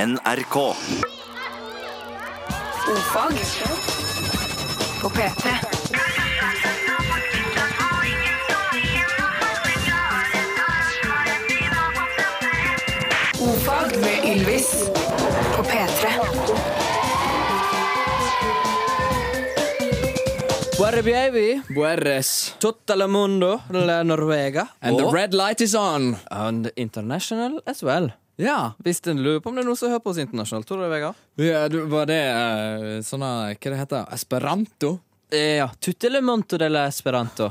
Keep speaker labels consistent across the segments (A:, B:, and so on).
A: NRK.
B: Ofag på P3. Ofag med Ylvis på P3.
C: Buerre baby,
D: Buerres.
C: tutto il mondo, la Norvega.
D: And the
C: og-
D: red light is on!
C: and international as well.
D: Ja.
C: Hvis en lurer på om det er noen som hører på oss internasjonalt, tror du det, Vegard?
D: ja du, var det eh, sånne Hva det heter Esperanto?
C: Eh, Ja. Tutte le monto della esperanto.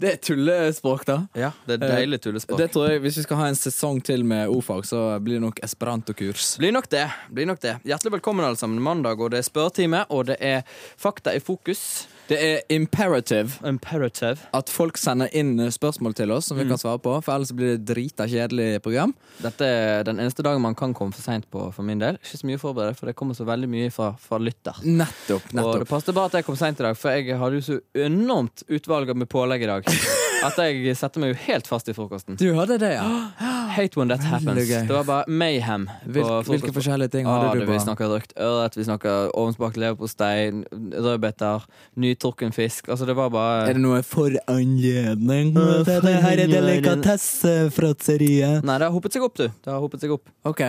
D: Det er tullespråk, da. Eh,
C: ja, det er deilig tullespråk.
D: Det tror jeg, Hvis vi skal ha en sesong til med o-fag, så blir det nok esperantokurs.
C: Blir nok det. blir nok det Hjertelig velkommen, alle sammen. Mandag, og det er spørretime, og det er fakta i fokus.
D: Det er imperative
C: Imperative.
D: at folk sender inn spørsmål til oss som
C: Mm.
D: vi kan svare på, for ellers blir det drita kjedelig program.
C: Dette er den eneste dagen man kan komme for seint på, for min del. Ikke så mye å forberede, for det kommer så veldig mye fra, fra lytter.
D: Nettopp.
C: Og det
D: nettopp
C: passet bare at jeg kom seint i dag, for jeg hadde jo så enormt utvalg med pålegg i dag at jeg setter meg jo helt fast i frokosten.
D: Du hadde det, ja?
C: Hate when that happens.
D: Veldig gøy.
C: Det var bare mayhem. på
D: Hvil, hvilke
C: frokost.
D: forskjellige ting
C: Ah,
D: hadde
C: det,
D: du
C: vi
D: på?
C: snakker røkt ørret, vi snakker ovnsbakt leverpostei, rødbeter, nytrukken fisk. Altså, det var
D: Er
C: bare
D: det noe for anledning?
C: Å,
D: Dette her er
C: for anledning.
D: delikatessefråtseriet.
C: Nei, det har hopet seg opp, du. Det har hopet seg opp.
D: Ok.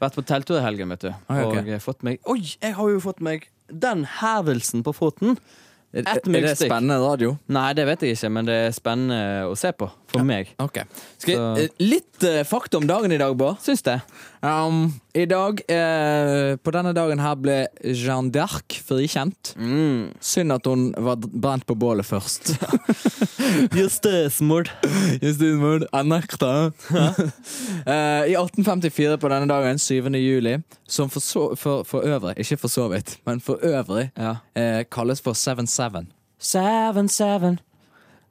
C: Vært på telttur i helgen, vet du.
D: Ah, ok.
C: Og eh, fått meg Oi, jeg har jo fått meg den hevelsen på foten.
D: Er,
C: Ett
D: er det
C: myggstikk.
D: spennende radio?
C: Nei, det vet jeg ikke, men det er spennende å se på. For meg.
D: Ok. Skal
C: Så-
D: jeg, eh, litt eh, fakta om dagen i dag, Bård.
C: Syns det.
D: Um, I dag, eh, på denne dagen her, ble Jeanne d'Arc frikjent.
C: Mm.
D: Synd at hun var d- brent på bålet først.
C: Just det, smord.
D: Justinmord, jeg nekter. Eh, I 1854 på denne dagen, 7. juli, som for, så, for, for øvrig, ikke for så vidt, men for øvrig,
C: Ja.
D: eh, kalles for 7-7.
C: Seven, seven.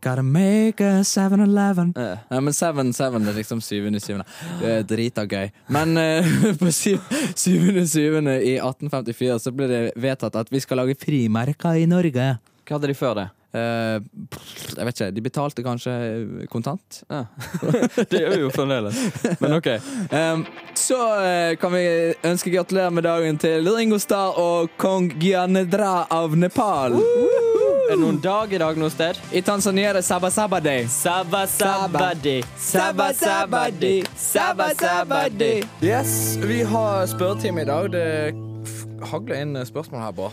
D: Gotta make a 7-Eleven.
C: Eh.
D: Nei, men 7-7 er liksom 7.7. Det er drita gøy. Men eh, på 7.7. i 1854 så ble det vedtatt at vi skal lage frimerker i Norge.
C: Hva hadde de før det?
D: Eh, pff, jeg vet ikke, de betalte kanskje kontant?
C: Ja. det gjør vi jo fremdeles. Men ok.
D: Um, så eh, kan vi ønske gratulerer med dagen til Ringo Starr og kong Gyanedra av Nepal.
C: Er det noen dag i dag noe sted?
D: I Tanzania er det Sabba Sabba Day.
C: Sabba
D: sabadi.
C: Sabba sabadi. Sabba sabadi.
D: Yes, vi har spørretime i dag. Det hagler inn spørsmål her, bra.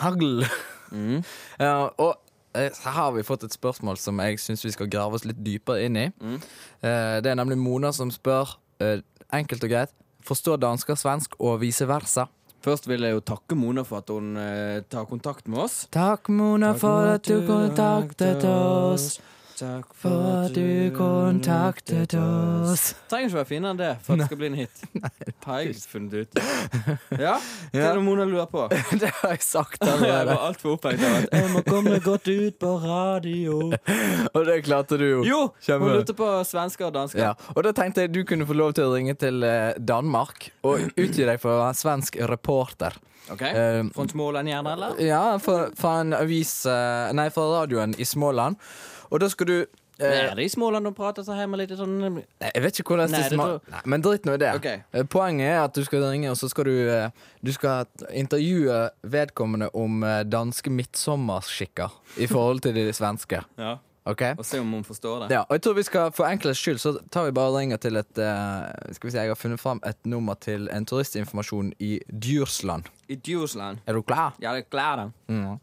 D: Hagl. Mm. Ja, og eh, her har vi fått et spørsmål som jeg syns vi skal grave oss litt dypere inn i. Eh, Det er nemlig Mona som spør, eh, enkelt og greit, forstår dansker svensk og vice versa?
C: Først vil jeg jo takke Mona for at hun eh, tar kontakt med oss.
D: Takk, Mona, for at du kontaktet oss.
C: Takk
D: For at du kontaktet oss.
C: Trenger ikke være finere enn det for at det skal bli en hit. Har jeg funnet ut. Ja? Hva
D: Ja.
C: er det Mona lurer på?
D: Det har jeg sagt
C: Jeg
D: allerede.
C: var altfor opphengt av at jeg må komme godt ut på radio.
D: Og det klarte du jo.
C: Jo, hun
D: Kjempe.
C: lurte på svensker og dansker.
D: Ja. Og da tenkte jeg du kunne få lov til å ringe til eh, Danmark og utgi deg for å være svensk reporter.
C: Ok,
D: Eh,
C: Fra Småland gjerne, eller?
D: Ja, fra, fra en avis eh, Nei, fra radioen i Småland. Og da skal du eh,
C: Er det i Småland de prater så hjemme litt sånn
D: Nei, Jeg vet ikke hvordan
C: Nei,
D: det
C: det
D: sma-
C: tror-
D: Nei, Men drit nå i det.
C: Ok.
D: Eh, Poenget er at du skal ringe, og så skal du, eh, du skal intervjue vedkommende om eh, danske midtsommerskikker i forhold til de svenske.
C: Ja,
D: Ok?
C: og se om hun forstår det.
D: Ja, og jeg tror vi skal For enkelhets skyld så tar vi bare og ringer til et eh, Skal vi si, Jeg har funnet fram et nummer til en turistinformasjon i Djursland.
C: I Djursland.
D: Er du klar?
C: Ja, det klarer jeg.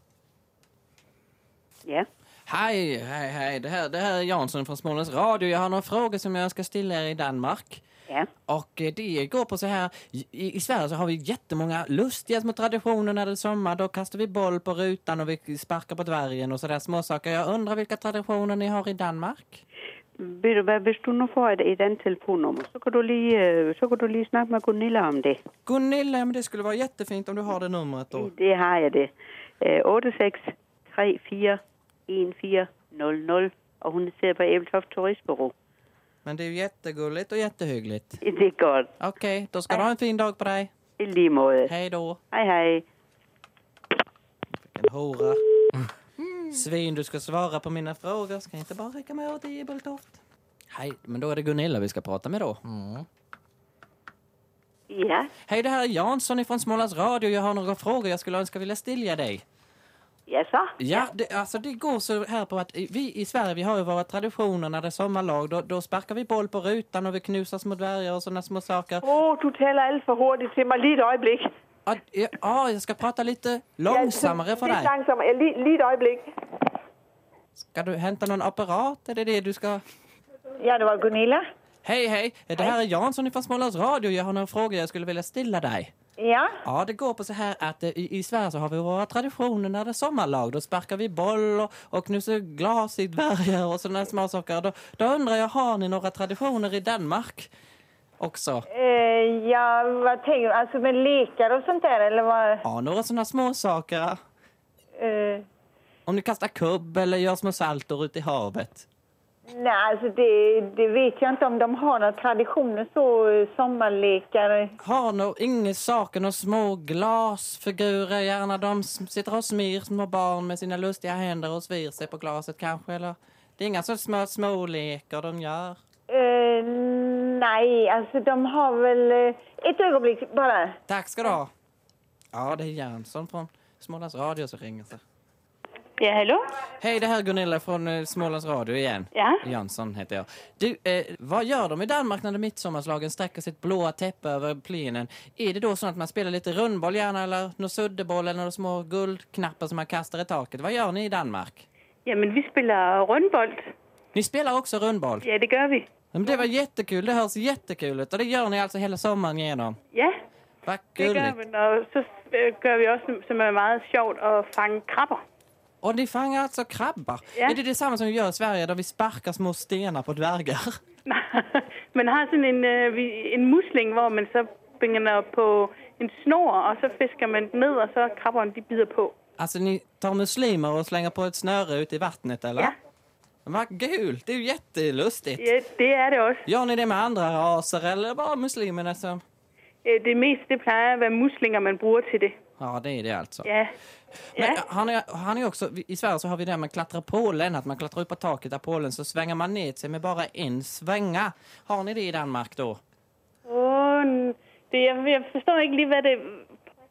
E: Ja.
C: Hei, hei, hei. Det her, det her er Jansson fra Smålands Radio. Jeg har noen frågor som jeg skal stille her i Danmark.
E: Ja.
C: Och eh, det går på så här, i, i Sverige så har vi jättemånga lustiga små traditioner när det är sommar. Då kastar vi boll på rutan och vi sparkar på dvärgen och sådär småsaker. Jag undrar vilka traditioner ni har i Danmark?
E: Ved hvis du nå får et, et annet telefonnummer, så kan, du lige, øh, så kan du lige snakke med Gunilla om det.
C: Gunilla, ja, men det skulle vara jättefint om du har det numret då.
E: Det har jeg det. Øh, 86 34 1400, og hun sidder på Æbeltoft Turistbureau.
C: Men det är ju jättegulligt och jättehyggligt.
E: Det er godt.
C: Okej, då ska du ha en fin dag på dig.
E: I lige måde.
C: Hej då.
E: Hej hej.
C: En hora. Svin, du ska svara på mina frågor. Ska Mm. inte bara rycka med åt Ibeltoft? Hej, men då är det Gunilla vi ska prata med då.
E: Ja,
C: Hej, det här är Jansson från Smålands Radio. Jag har några frågor jag skulle önska vilja stilja dig.
E: ja så.
C: Ja, det, alltså det går så här på att i- vi i Sverige, vi har ju våra traditioner när det är sommarlag. Då, då sparkar vi boll på rutan och vi knusar små dvärgar og sådana små saker.
E: Åh, oh, du taler alt for hurtigt til mig. Lige et øjeblik.
C: Ja, ja, ah, ja, jag ska prata lite
E: Ja,
C: långsammare för
E: lidt
C: dig.
E: langsommere. Ja, lige, lige et øjeblik.
C: Ska du hämta någon apparat? Är det det du ska...
E: Ja, det var Gunilla.
C: Hej, hej! Det här är Jansson från Smålands Radio. Jag har några frågor jag skulle vilja stilla dig.
E: Ja,
C: Ja, det går på så här att eh, i, i Sverige så har vi våra traditioner när det är sommarlag. Då sparkar vi boll och, och knusar glas i dvärgar och sådana små saker. Då, då undrar jeg, har ni några traditioner i Danmark också?
F: Eh.
E: øh, ja, hvad tænker du? Altså med leker og sådan der, eller hvad?
C: Ja, några sådana små saker.
E: Øh,
C: Om ni kastar kubb eller gör små saltor ute i havet.
E: nej, altså det, det ved jeg ikke, om de har nogle traditioner, så øh, sommerleker.
C: Har nog inga saker, några små glasfigurer gärna. De s- sitter och smir små barn med sina lustiga händer och svir sig på glaset kanske. Eller? Det är inga så små, små leker de gör.
E: Øh, nej, altså de har vel... Øh, et øjeblik, bare.
C: Tack ska du ha. Ja, det är Jansson från Smålands Radio som ringer. Så.
E: Ja, hallo?
C: Hej, det här är Gunilla från eh, Smålands Radio igen.
E: Ja.
C: Jansson heter jag. Du, eh, vad gör de i Danmark när de midsommarslagen sträcker sitt blåa täppe över plenen? Är det då så att man spelar lite rundboll gärna eller någon suddeboll eller några små guldknappar som man kastar i taket? Vad gör ni i Danmark?
F: Jamen, vi spiller rundbold.
C: Ni spelar också rundboll?
F: Ja, det gør vi.
C: Men det var jättekul, det hörs jättekul ut och det gör ni altså alltså hela sommaren igenom?
F: Ja,
C: Vad
F: det
C: gulligt.
F: gør vi. Og så øh, gør vi også, som er meget sjovt, at fange krabber.
C: Och ni fångar alltså krabbar?
F: Ja.
C: Är altså det detsamma som vi gör i Sverige där vi sparkar små stenar på dvärgar?
F: man har sådan en, øh, vi- en musling, hvor man så binder på en snor, og så fisker man den ned, og så krabberne, de bider på.
C: Alltså ni tar muslimer och slänger på ett snöre ute i vattnet eller?
F: Ja.
C: Vad kul! Det är ju jättelustigt.
F: Ja, det er det også.
C: Gör ni det med andra raser eller bara muslimerna som...
F: Ja, Øh, Det meste, det plejer at være muslinger, man bruger til det.
C: Ja, det är det alltså.
F: Ja,
C: Men eh,
F: ja.
C: har ni, har ni också, I Sverige så har vi det här med klättra pålen, att man klättrar upp på taket av pålen så svänger man ner sig med bara en svänga. Har ni det i Danmark då?
F: Åh, n- det, jeg, jeg forstår ikke lige, hvad det...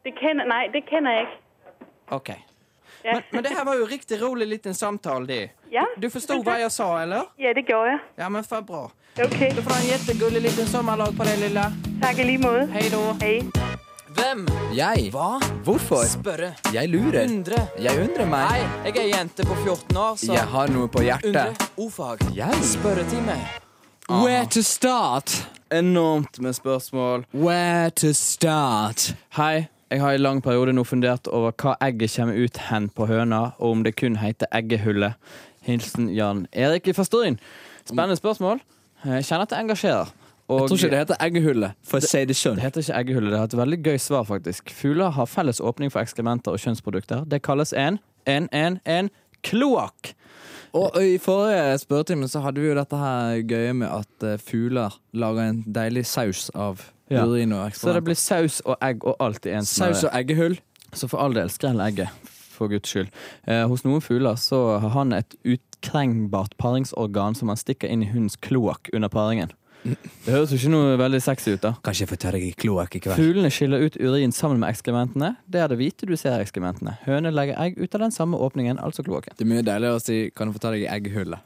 F: det kender, nej, det kender jeg ikke.
C: Okej.
F: Ja.
C: Men, men det här var ju riktigt rolig liten samtal det.
F: Ja.
C: Du förstod vad jag sa eller?
F: Ja, det gjorde jeg.
C: Ja men för bra.
F: Okay,
C: Du får ha en jättegullig liten sommarlag på dig lilla.
F: tak i lige måde.
C: Hej då.
F: Hej.
D: Hvem? Jeg.
G: Hva?
D: Hvorfor?
G: Spørre.
D: Jeg lurer.
G: Undre.
D: Jeg undrer meg.
G: Nei, jeg er jente på 14 år, så
D: Jeg har noe på
G: Undre.
D: hjertet.
G: O-fag.
D: Jeg.
G: Spørretime.
H: Where to start?
I: enormt med spørsmål.
H: Where to start?
I: Hei, jeg har i lang periode nå fundert over hva egget kommer ut hen på høna, og om det kun heter eggehullet. Hilsen Jan Erik fra Stryn. Spennende spørsmål. Jeg kjenner at det engasjerer. Og
D: Jeg tror ikke det heter eggehullet.
H: For å si det
I: det
H: sjøl.
I: heter ikke eggehullet. Det er et veldig gøy svar, faktisk. Fugler har felles åpning for ekskrementer og kjønnsprodukter. Det kalles en, en, en, en kloakk.
D: Og i forrige spørretime så hadde vi jo dette her gøye med at eh, fugler lager en deilig saus av
I: Ja.
D: urin og
I: Så det
D: ekstra.
I: blir saus og egg og alt i en
D: Saus og eggehull.
I: Så for all del, skrell egget, for guds skyld. Eh, hos noen fugler så har han et utkrengbart paringsorgan som han stikker inn i hundens kloakk under paringen. Det høres jo ikke noe veldig sexy ut, da.
D: Kanskje jeg får ta deg i kloakk i
I: Fuglene skiller ut urin sammen med ekskrementene. Det er det hvite du ser i ekskrementene. Høner legger egg ut av den samme åpningen, altså kloakken.
D: Det er mye deiligere å si 'kan du få ta deg i egghullet'.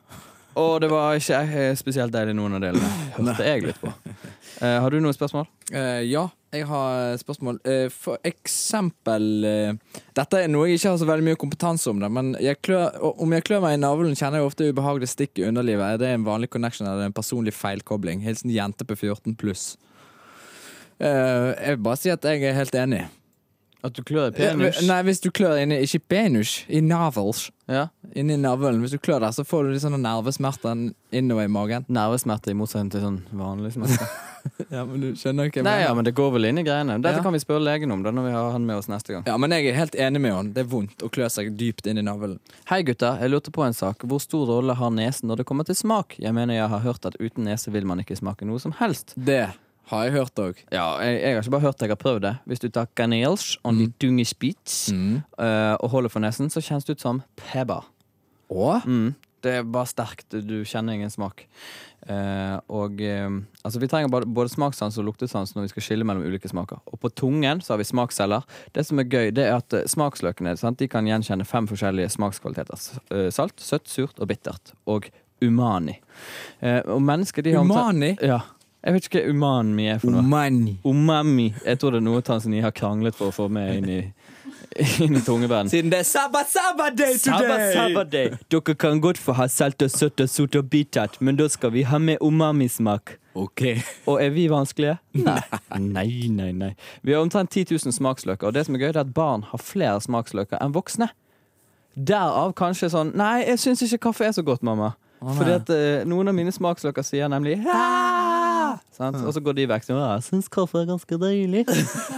I: Og det var ikke eh, spesielt deilig noen av delene. Hørte jeg litt på. Eh, har du noen spørsmål?
D: Eh, ja, jeg har spørsmål. Eh, for eksempel eh, Dette er noe jeg ikke har så veldig mye kompetanse om, da, men jeg klør, og- om jeg klør meg i navlen, kjenner jeg ofte ubehagelig stikk i underlivet. Er det en vanlig connection eller en personlig feilkobling? Hilsen jente på 14 pluss. Eh, jeg vil bare si at jeg er helt enig.
I: At du klør i
D: Eh, Nei, hvis du klør inni Ikke penis, i navels.
I: Ja.
D: Inni navlen. Hvis du klør der, så får du litt sånne nervesmerter innover i magen.
I: Nervesmerter i motsetning til sånn vanlig smerte.
D: Ja, men du skjønner ikke
I: Nei, ja, men det går vel inn i greiene. Dette
D: Ja.
I: kan vi spørre legen om da når vi har han med oss neste gang.
D: Ja, men jeg er helt enig med han. Det er vondt å klø seg dypt inn i navlen.
I: Hei gutta, jeg lurte på en sak. Hvor stor rolle har nesen når det kommer til smak? Jeg mener jeg har hørt at uten nese vil man ikke smake noe som helst.
D: Det har jeg hørt òg.
I: Ja, jeg, jeg har ikke bare hørt det, jeg har prøvd det. Hvis du tar kanels og litt dunge spits eh, og holder for nesen, så kjennes det ut som pepper.
D: Og
I: Mm.
C: Det er bare sterkt. Du kjenner ingen smak. Eh, og eh, altså Vi trenger bare, både smakssans og luktesans når vi skal skille mellom ulike smaker. Og på tungen så har vi smaksceller. Det som er gøy, det er at eh, smaksløkene sant, de kan gjenkjenne fem forskjellige smakskvaliteter. S- eh, Salt, søtt, surt og bittert. Og umani. Eh, og mennesker de har omtrent-
D: Umani?
C: Ja. Jeg vet ikke hva umami er for noe.
D: Umani.
C: Umami. Jeg tror det er noe Tanzania har kranglet for å få med inn i, inn i tungeverden.
J: Siden det er Sabba Sabba Day
C: Sabba, sabba day. Dere kan godt få ha salt og søtt og surt og bittert, men da skal vi ha med umamismak.
J: Ok.
C: Og er vi vanskelige? Nei. Nei, nei, nei. Vi har omtrent 10 000 smaksløker, og det som er gøy, det er at barn har flere smaksløker enn voksne. Derav kanskje sånn Nei, jeg syns ikke kaffe er så godt, mamma. Fordi at eh, noen av mine smaksløker sier nemlig «Hæ?» Sant? Og så går de vekk. Sånn, «Ja, 'Jeg syns kaffe er ganske deilig'.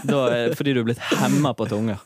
C: da, er det fordi du er blitt hemma på tunger.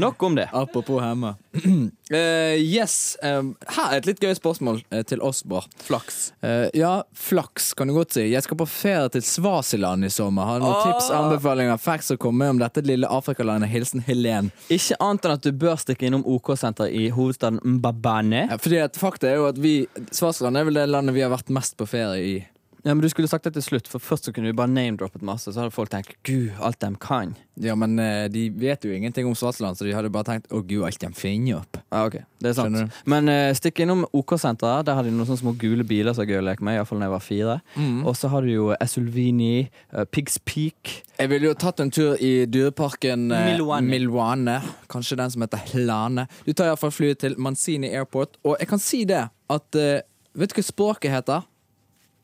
C: Nok om det.
D: Apropos hemma. Eh, yes. eh, her er et litt gøy spørsmål eh, til oss, Bård. Flaks. ja, flaks kan du godt si. Jeg skal på ferie til Svasiland i sommer. Har du noen tips, anbefalinger, facts å komme med om dette lille Afrikalandet? Hilsen Helen.
C: Ikke annet enn at du bør stikke innom OK-senteret i hovedstaden Mbabane.
D: Ja, fordi at fakta er jo at vi Svasiland er vel det landet vi har vært mest på ferie i.
C: Ja, men Du skulle sagt det til slutt, for først så kunne vi bare name-droppet masse. Så hadde folk tenkt 'gud, alt de kan'.
D: Ja, men eh, de vet jo ingenting om Svasiland, så de hadde bare tenkt 'å gud, alt de finner opp'.
C: Ja, ok, det er sant
D: Skjønner du.
C: Men eh, stikk innom OK-senteret. Der har de noen sånne små gule biler som er gøy å leke med. Iallfall da jeg var fire.
D: Mm.
C: Og så har du jo Esulvini, eh, Pigs Peak.
D: Jeg ville jo tatt en tur i dyreparken eh,
C: Milwane.
D: Milwane. Kanskje den som heter Hlane. Du tar iallfall flyet til Manzini Airport, og jeg kan si det at eh, Vet du hva språket heter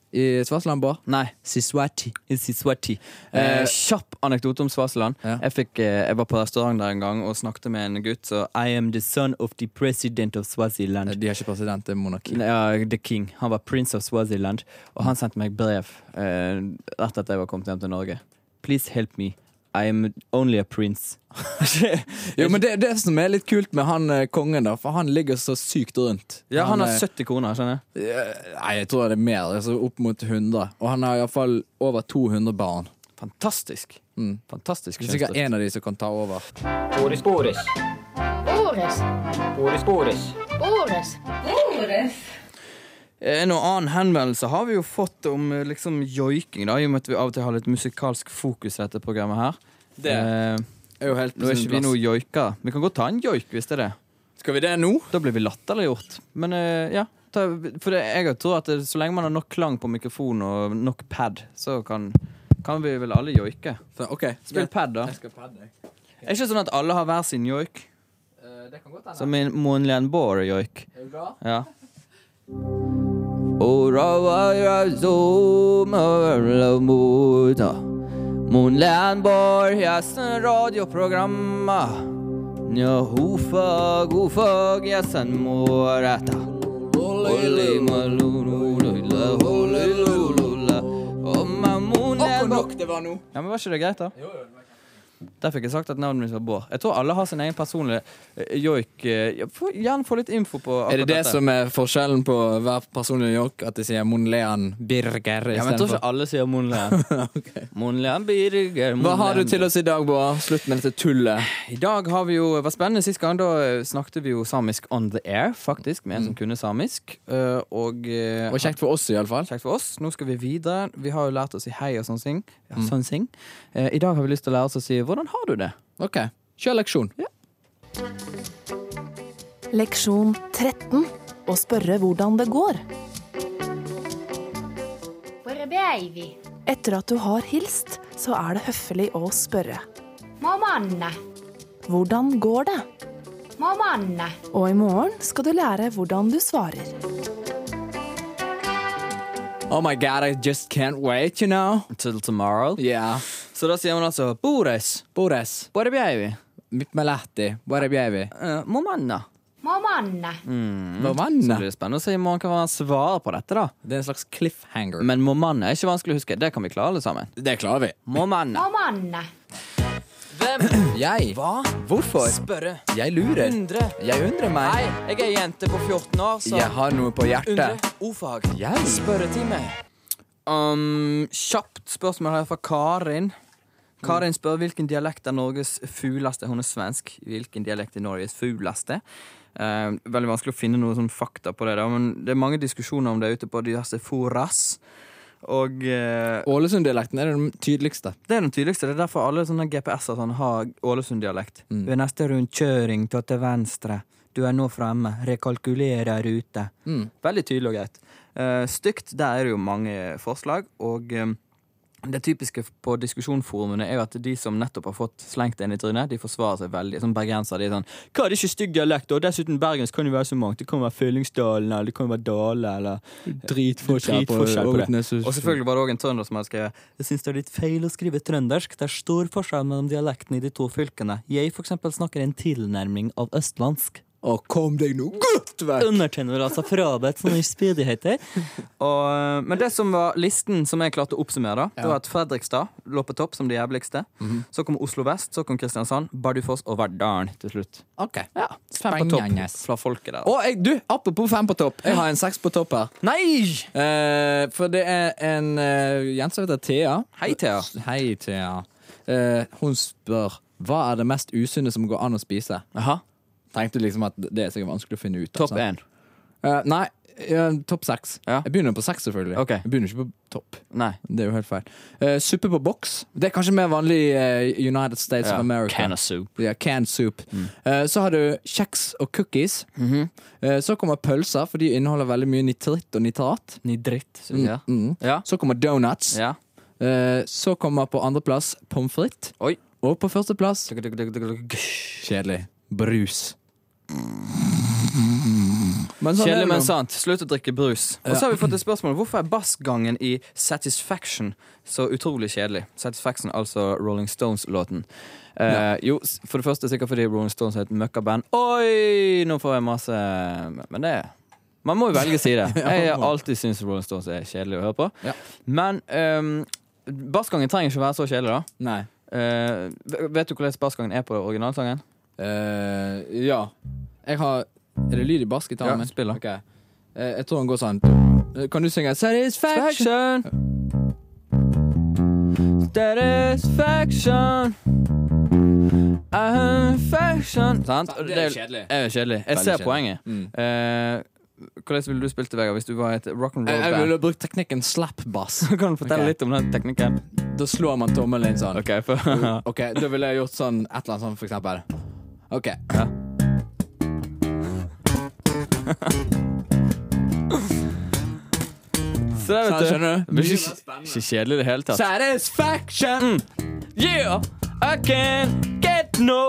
D: i Svartland, Bård?
C: Nei.
D: Siswati.
C: Siswati. Eh, kjapp anekdote om Swaziland.
D: Ja.
C: Jeg, fikk, eh, jeg var på restaurant der en gang og snakket med en gutt. Så I am the son of the president of Swaziland.
D: De har ikke president, det er monarki.
C: Ja, The King. Han var prins of Swaziland. Og han sendte meg brev eh, rett etter jeg var kommet hjem til Norge. Please help me. I am only a prince.
D: Jo, men det er det som er litt kult med han eh, kongen, da, for han ligger så sykt rundt.
C: ja, han eh, har
D: er-
C: 70 kroner, skjønner jeg.
D: Nei, jeg tror det er mer. Altså opp mot 100. Og han har iallfall over 200 barn.
C: Fantastisk. Fantastisk
D: Det er sikkert
C: kjønnsdrift.
D: en av de som kan ta over.
C: Eh, Noen annen henvendelse har vi jo fått om eh, liksom joiking, da, i og med at vi av og til har litt musikalsk fokus i dette programmet her.
D: Det
C: eh,
D: er jo helt
C: nå er ikke vi noe joikere. Vi kan godt ta en joik, hvis det er det.
D: Skal vi det nå?
C: Da blir vi latterliggjort. Men eh, ja. Ta, for det, jeg tror at det, så lenge man har nok klang på mikrofonen og nok pad, så kan, kan vi vel alle joike.
D: Så, OK.
C: Spill pad, da.
D: skal padde, jeg.
C: Er ikke sånn at alle har hver sin joik?
D: Eh, Det kan godt hende.
C: Som min Monlian Boar-joik.
D: Er du klar?
C: Ja. Mon Lernborg, gjesten radioprogramma. Nja, hofag, hofag, gjesten må retta. Olli malulula, olilulula. Omma mon Lernborg.
D: det var nå.
C: Ja, men Var ikke det greit, da? Jo, jo, Der fikk jeg sagt at navnet mitt var Bård. Jeg tror alle har sin egen personlige eh, joik. eh, få- Gjerne få litt info på akkurat
D: Er det det
C: dette.
D: som er forskjellen på hver person i New York? At de sier Monlean Birger
C: Ja, men jeg tror ikke alle sier Monlean. Monlean Birger
D: Hva har du til oss i dag, Bård? Slutt med dette tullet.
C: I dag har vi jo Det var spennende sist gang. Da eh, snakket vi jo samisk on the air, faktisk, med en som kunne samisk. Eh, Og eh,
D: Mm. Og kjekt for oss, iallfall.
C: kjekt for oss. Nå skal vi videre. Vi har jo lært å si hei og sånne ting. Ja,
D: Mm.
C: sånne ting. Eh, I dag har vi lyst til å lære oss å si 'Hvordan har du det?'
D: OK. Kjør leksjon.
K: Leksjon 13. Å spørre hvordan det går.
L: Hvor ble vi?
K: Etter at du har hilst, så er det høflig å spørre.
L: Mammanne.
K: Hvordan går det?
L: Mammanne.
K: Og i morgen skal du lære hvordan du svarer.
D: Oh my god, I just can't wait, you know.
C: Till tomorrow.
D: Yeah.
C: Så da sier hun altså 'Bores'.
D: Bores.
C: Bare bjeivi.
D: Mipmeletti. Warebjevi.
C: Uh, Momanna.
L: Mammanne.
C: Så
D: Vannet.
C: blir det spennende å se i morgen hva han svarer på dette, da.
D: Det er en slags cliffhanger.
C: Men momanna er ikke vanskelig å huske. Det kan vi klare, alle sammen.
D: det klarer vi.
C: Momanna.
L: Mammanne.
D: Jeg
M: Hva?
D: Hvorfor?
M: Spørre.
D: Jeg lurer.
M: Undre.
D: Jeg undrer
M: Hei,
D: meg.
M: jeg er jente på 14 år, så
D: Jeg har noe på
M: Undre.
D: hjertet.
M: Ordfag.
D: Jeg?
M: Spørretime.
C: Um, kjapt spørsmål her fra Karin. Karin spør hvilken dialekt er Norges fugleste. Hun er svensk. Hvilken dialekt er Norges fugleste? Eh, veldig vanskelig å finne noen sånn fakta på det, da, men det er mange diskusjoner om det ute på diverse foras. Og eh,
D: Ålesund-dialekten er den tydeligste.
C: Det er den tydeligste. Det er derfor alle sånne GPS-er sånn, har Ålesund-dialekt. Ved neste rundkjøring, ta til venstre. Du er nå fremme. Rekalkulere rute.
D: Mm.
C: Veldig tydelig og greit. Eh, stygt, der er det jo mange forslag, og eh, det typiske på diskusjonsforumene er jo at de som nettopp har fått slengt en i trynet, de forsvarer seg veldig. Som bergensere. De er sånn 'Hva, det er ikke stygg dialekt', og dessuten bergensk kan jo være så mangt. Det kan være Fyllingsdalen, eller det kan være Dale, eller
D: Dritforskjell på
C: Dritforskjell på det.
D: Ågnes og-
C: Og selvfølgelig var det òg en trønder som hadde skrevet 'Jeg syns det er litt feil å skrive trøndersk'. Det er stor forskjell mellom dialektene i de to fylkene. Jeg for eksempel snakker en tilnærming av østlandsk.
D: Å, kom deg nå godt vekk!
C: Undertegner altså frabedt sånne spydigheter. Og, eh, men det som var listen som jeg klarte å oppsummere, da, det var at Fredrikstad lå på topp som de jævligste.
D: Mhm.
C: Så kom Oslo vest, så kom Kristiansand, Bardufoss og Verdalen til slutt.
D: Ok.
C: Ja, Fem på topp
D: Spennende.
C: fra folket der.
D: Og jeg, du, apropos fem på topp. Jeg har en seks på topp her.
C: Nei!
D: Eh, for det er en uh, jente som heter Thea.
C: Hei, Thea.
D: Hei, Thea. Eh, hun spør hva er det mest usunne som går an å spise.
C: Aha,
D: Tenkte liksom at det er sikkert vanskelig å finne ut altså.
C: Topp
D: av. sant?
C: én.
D: Eh, nei, eh, topp seks.
C: Ja.
D: Jeg begynner på seks, selvfølgelig.
C: Ok.
D: Jeg begynner ikke på topp.
C: Nei.
D: Det er jo helt feil. Eh, suppe på boks. Det er kanskje mer vanlig i eh, United States of America.
C: Can of soup. Mm.
D: Ja, canned soup. Eh, så har du kjeks og cookies.
C: Mhm.
D: Eh, så kommer pølser, for de inneholder veldig mye nitritt og nitrat.
C: Nidritt. Mm. Ja.
D: Mm.
C: Ja.
D: Så kommer donuts.
C: ja.
D: Eh, så kommer på andreplass pommes frites.
C: Oi.
D: Og på førsteplass Kjedelig. Brus. Men sånn er
C: Kjedelig,
D: det
C: men
D: nå.
C: sant. Slutt å drikke brus. Og så har vi fått et spørsmål. Hvorfor er bassgangen i Satisfaction så utrolig kjedelig? Satisfaction, altså Rolling Stones-låten. Eh, Jo, s- for det første sikkert fordi Rolling Stones er et møkkaband. Oi, nå får jeg masse Men det Man må jo velge side. Jeg har alltid syntes Rolling Stones er kjedelig å høre på.
D: Ja.
C: Men ehm, bassgangen trenger ikke være så kjedelig, da.
D: Nei.
C: Eh, v- vet du hvordan bassgangen er på originalsangen?
D: Eh, ja. Jeg har Er det lyd i bassgitaren
C: Ja,
D: min?
C: spill da.
D: Ok. Eh, jeg tror den går sånn Eh, Kan du synge Satisfaction?
C: Satisfaction. Satisfaction. I'm faction. Sant?
D: Det er jo kjedelig.
C: Det er jo kjedelig. Jeg
D: Veldig
C: ser
D: kjedelig.
C: poenget.
D: Mm.
C: Eh, hvordan ville du spilt det, Vegard, hvis du var et
D: Jeg,
C: rock'n'roll
D: jeg
C: band?
D: ville brukt teknikken slap-bass.
C: Kan du fortelle
D: Ok.
C: litt om den teknikken?
D: Da slår man tommelen inn sånn.
C: Ok, for
D: Ok, Da ville jeg gjort sånn et eller annet sånn, for eksempel. Ok.
C: Ja. Så der,
D: Sånn,
C: vet du.
D: skjønner du?
C: Det blir ikke, ikke kjedelig i det hele tatt.
D: Satisfaction!
C: Yeah, I can get no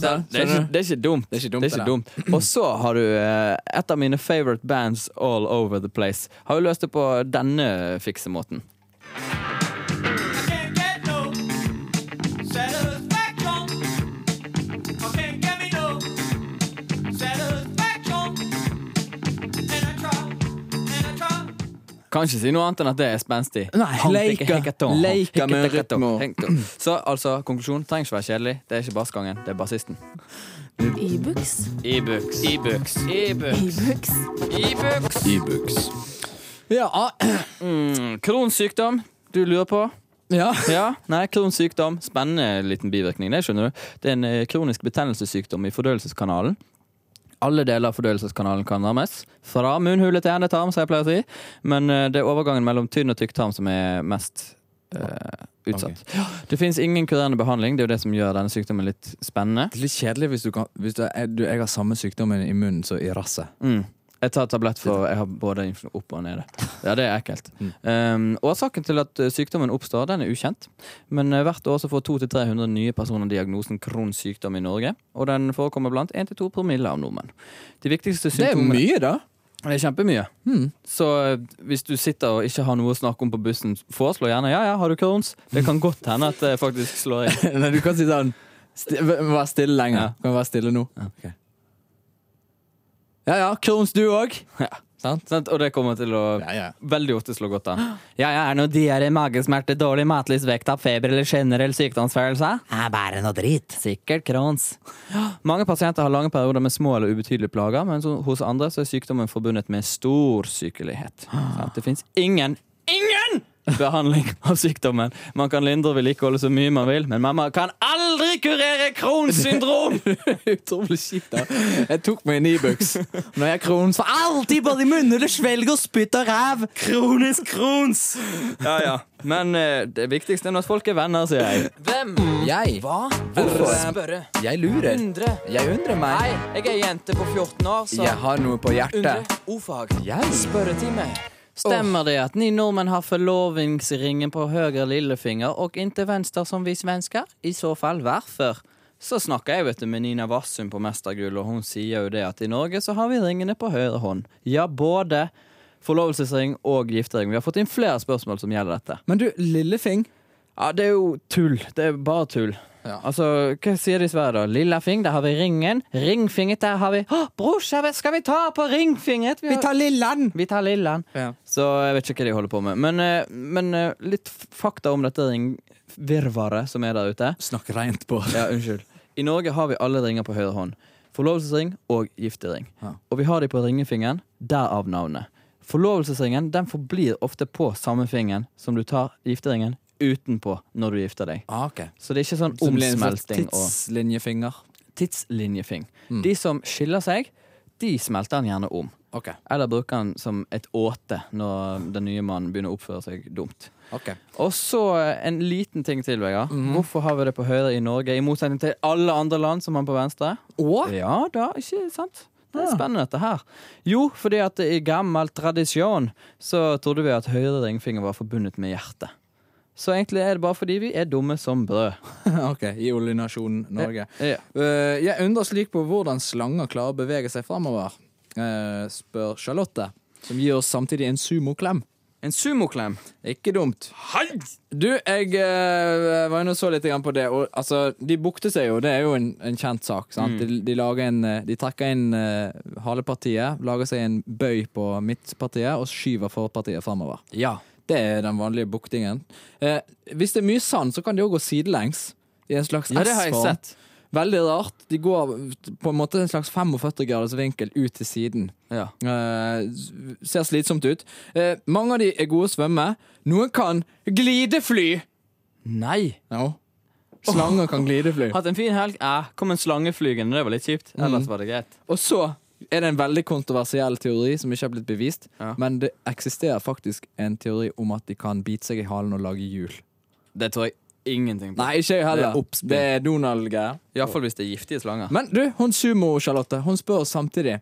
D: Sånn,
C: Det er, ikke,
D: skjønner du?
C: det er ikke dumt. Det
D: er ikke dumt,
C: er ikke dumt. Og så har du eh, et av mine favorite bands all over the place. Har jo løst det på denne fiksemåten. Kan ikke si noe annet enn at det er spenstig.
D: Nei,
C: Han
D: leker-
C: tenker hekaton.
D: leker med
C: Hekaton.
D: rytme.
C: Hekaton. Så altså, konklusjon trenger ikke være kjedelig. Det er ikke bassgangen, det er bassisten.
K: Ibux.
C: E-books. E-books. E-books.
K: Ibux.
C: E-books.
D: E-books. Ja, ah,
C: Kronsykdom. Du lurer på?
D: ja.
C: Ja, nei, Crohns sykdom. Spennende liten bivirkning. Det skjønner du. Det er en eh, kronisk betennelsessykdom i fordøyelseskanalen. Alle deler av fordøyelseskanalen kan rammes. Fra munnhule til endetarm, som jeg pleier å si. Men eh, det er overgangen mellom tynn og tykk tarm som er mest eh, utsatt. Ja, Det finnes ingen kurerende behandling. Det er jo det som gjør denne sykdommen litt spennende.
D: Det er litt kjedelig hvis du kan Hvis du, jeg, du, jeg har samme sykdommen i munnen som i rasset.
C: Mm. Jeg tar tablett for jeg har både influ- opp og nede. Ja, det er ekkelt.
D: Mm.
C: Um, årsaken til at eh, sykdommen oppstår, den er ukjent. Men eh, hvert år så får 200-300 nye personer diagnosen Crohns sykdom i Norge. Og den forekommer blant 1-2 promille av nordmenn. De viktigste
D: Det er
C: symptomene
D: mye, da.
C: det er kjempemye. Så eh, hvis du sitter og ikke har noe å snakke om på bussen, foreslå gjerne ja, ja, har du Crohns? Det kan godt hende at det faktisk slår inn.
D: Nei, du kan si sånn sti, Vær stille lenger.
C: Ja.
D: Kan du være stille nå? Ja ja, Krohns du òg.
C: Sant? Og det kommer til å
D: Ja, ja.
C: Veldig ofte slår godt an. Ja, ja, er det noe diaré, magesmerter, dårlig matlyst, vekttap, feber eller generell sykdomsfølelse? Er bare noe dritt. Sikkert Crohns. Mange pasienter har lange perioder med små eller ubetydelige plager, men så- hos andre så er sykdommen forbundet med stor sykelighet. Sant? Det fins ingen ingen behandling av sykdommen. Man kan lindre og vedlikeholde så mye man vil, men man kan aldri aldri kurere Crohns syndrom!
D: Utrolig kjipt. da. Jeg tok meg en Ibux. Når jeg er Crohns for
J: Alltid både i munnhuller, svelg og spytt og ræv. Kronisk krons.
C: Ja, ja. Men eh, det viktigste er at folk er venner, sier jeg.
M: Hvem?
D: Jeg.
M: Hva?
D: Hvorfor?
M: Hvorfor spørre?
D: Jeg lurer.
M: Undre.
D: Jeg undrer
M: Nei,
D: meg.
M: jeg er jente på 14 år, så
D: Jeg har noe på
M: Undre.
D: hjertet.
M: Ordfag.
D: Jeg?
M: Spørretime.
C: Stemmer det at ni nordmenn har forlovingsringen på høyre lillefinger og inntil venstre som vi svensker? I så fall hvorfor? Så snakker jeg vet du, med Nina Vassum på Mestergull, og hun sier jo det at i Norge så har vi ringene på høyre hånd. Ja, både forlovelsesring og giftering. Vi har fått inn flere spørsmål som gjelder dette.
D: Men du, Lillefing.
C: Ja, det er jo tull. Det er bare tull.
D: Ja.
C: Altså, Hva sier de i Sverige, da? Lillafing, der har vi ringen. Ringfinget, der har vi Å, brorsa, hva skal vi ta på ringfinget?
J: Vi tar Lilland.
C: Vi tar Lilland.
D: Ja.
C: Så jeg vet ikke hva de holder på med. Men, eh, men eh, litt f- fakta om dette ringvirvaret som er der ute.
D: Snakk rent på.
C: Ja, unnskyld. I Norge har vi alle ringer på høyre hånd. Forlovelsesring og giftering.
D: Ja.
C: Og vi har de på ringefingeren, derav navnet. Forlovelsesringen den forblir ofte på samme fingeren som du tar gifteringen utenpå når du gifter deg.
D: Ah, ok.
C: Så det er ikke sånn
D: Som blir en slags
C: omsmelting og Mm.
D: tidslinjefinger.
C: tidslinjefing. De som skiller seg, de smelter han gjerne om.
D: Ok.
C: Eller bruker han som et åte når den nye mannen begynner å oppføre seg dumt.
D: ok.
C: Og så eh, en liten ting til, Vegard. Hvorfor har vi det på høyre i Norge, i motsetning til alle andre land som har på venstre?
D: Og
C: Ja da, ikke sant? Det er spennende, dette her. Jo, fordi at i gammel tradisjon så trodde vi at høyre ringfinger var forbundet med hjertet. Så egentlig er det bare fordi vi er dumme som brød.
D: Ok, i oljenasjonen Norge.
C: Ja.
D: Eh, jeg undrer slik på hvordan slanger klarer å bevege seg framover, eh, spør Charlotte, som gir oss samtidig en sumoklem.
C: En sumoklem.
D: Ikke dumt. Du, jeg eh, var inne og så litt grann på det, og altså, de bukter seg jo, det er jo en, en kjent sak. Sant?
C: Mm.
D: De, de, lager en, eh, de trekker inn eh, halepartiet, lager seg en bøy på midtpartiet og skyver forpartiet framover.
C: Ja.
D: Det er den vanlige buktingen. Eh, hvis det er mye sand, så kan de òg gå sidelengs. I en slags
C: Ja, det har jeg
D: S-form.
C: sett.
D: Veldig rart. De går på en måte en slags 45 graders vinkel ut til siden.
C: Ja.
D: Eh, s- ser slitsomt ut. Eh, mange av de er gode å svømme. Noen kan glidefly!
C: Nei!
D: Ja. Slanger kan glidefly.
C: Hatt en fin helg. Eh, kom en slange flygende, det var litt kjipt. Ellers var det greit.
D: Og så er det en veldig kontroversiell teori som ikke har blitt bevist,
C: Ja.
D: men det eksisterer faktisk en teori om at de kan bite seg i halen og lage hjul.
C: Det tror jeg ingenting på.
D: Nei, ikke jeg
C: Det er
D: heller.
C: oppspinn.
D: Det er Donald-greier.
C: Iallfall hvis det er giftige slanger.
D: Men du, hun sumo-Charlotte, hun spør oss samtidig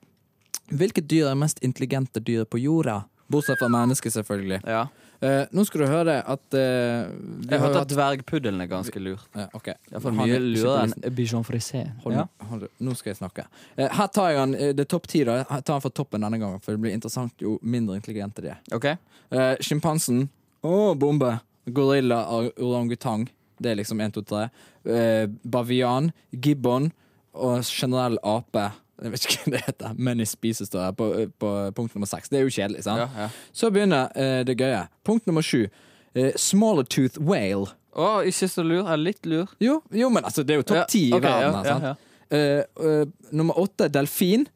D: Hvilket dyr er mest intelligente dyr på jorda? Bortsett fra mennesket, selvfølgelig.
C: Ja.
D: Eh, nå skal du høre at eh, vi
C: Jeg
D: har
C: hørte
D: jo
C: at dvergpuddelen er ganske lur.
D: hatt- Eh, ok.
C: Iallfall
D: Han
C: mye
D: er ikke på
C: lurere
D: listen.
C: enn bichon frisé.
D: Hold, hold, nå skal jeg snakke. Eh, her tar jeg han, eh, det er topp ti, da. Jeg tar han fra toppen denne gangen, for det blir interessant jo mindre intelligente de er.
C: Ok.
D: Uh, Sjimpansen. Å, bombe. Gorilla, or- orangutang. Det er liksom én, to, tre. Eh, bavian, gibbon og generell ape. Jeg vet ikke hva det heter, men i spise står det på, på punkt nummer seks. Det er jo kjedelig, sant?
C: Ja, ja.
D: Så begynner eh, det gøye. Punkt nummer sju. Eh, smaller tooth whale.
C: Å, ikke så lur. Eller litt lur.
D: Jo, jo, men altså, det er jo
C: Ja,
D: topp ti
C: ok,
D: i verden.
C: ja,
D: her,
C: ja,
D: sant? Eh, eh, nummer åtte delfin.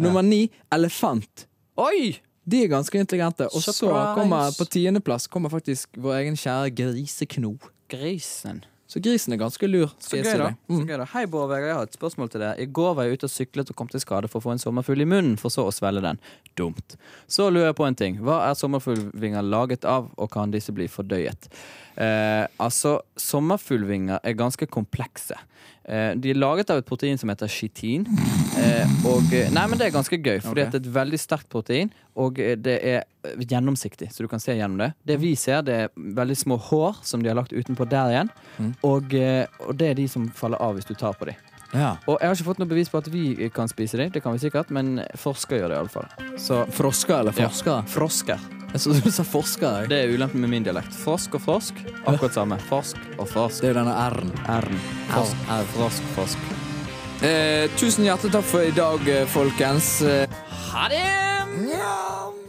D: Nummer ni elefant.
C: Oi!
D: De er ganske intelligente. Og så
C: Surprise!
D: kommer på tiendeplass kommer faktisk vår egen kjære grisekno.
C: Grisen.
D: Så grisen er ganske lur.
C: Så
D: Skal
C: gøy,
D: jeg si
C: da.
D: deg.
C: Så gøy da. Hei, Bård Vegard, jeg har et spørsmål til deg. I går var jeg ute og syklet og kom til skade for å få en sommerfugl i munnen, for så å svelge den. Dumt. Så lurer jeg på en ting. Hva er sommerfuglvinger laget av, og kan disse bli fordøyet? Eh, altså, sommerfuglvinger er ganske komplekse. Eh, de er laget av et protein som heter chitin. Eh, og, eh, nei, men det er ganske gøy, fordi
D: Ok.
C: at det er et veldig sterkt protein, og eh, det er eh, gjennomsiktig, så du kan se gjennom det. Det vi ser, det er veldig små hår som de har lagt utenpå der igjen, og, eh, og det er de som faller av hvis du tar på dem.
D: Ja.
C: Og jeg har ikke fått noe bevis på at vi eh, kan spise dem, det kan vi sikkert, men forskere gjør det iallfall. Så
D: Frosker eller forsker?
C: frosker.
D: Jeg så du sa forsker. jeg.
C: Det er ulempen med min dialekt. Frosk og frosk, akkurat samme. Frosk og frosk.
D: Det er jo denne r-en.
C: R-en. Frosk, frosk, frosk.
D: Eh, tusen hjertelig takk for i dag, eh, folkens. Eh,
C: Ha det!
D: Njam.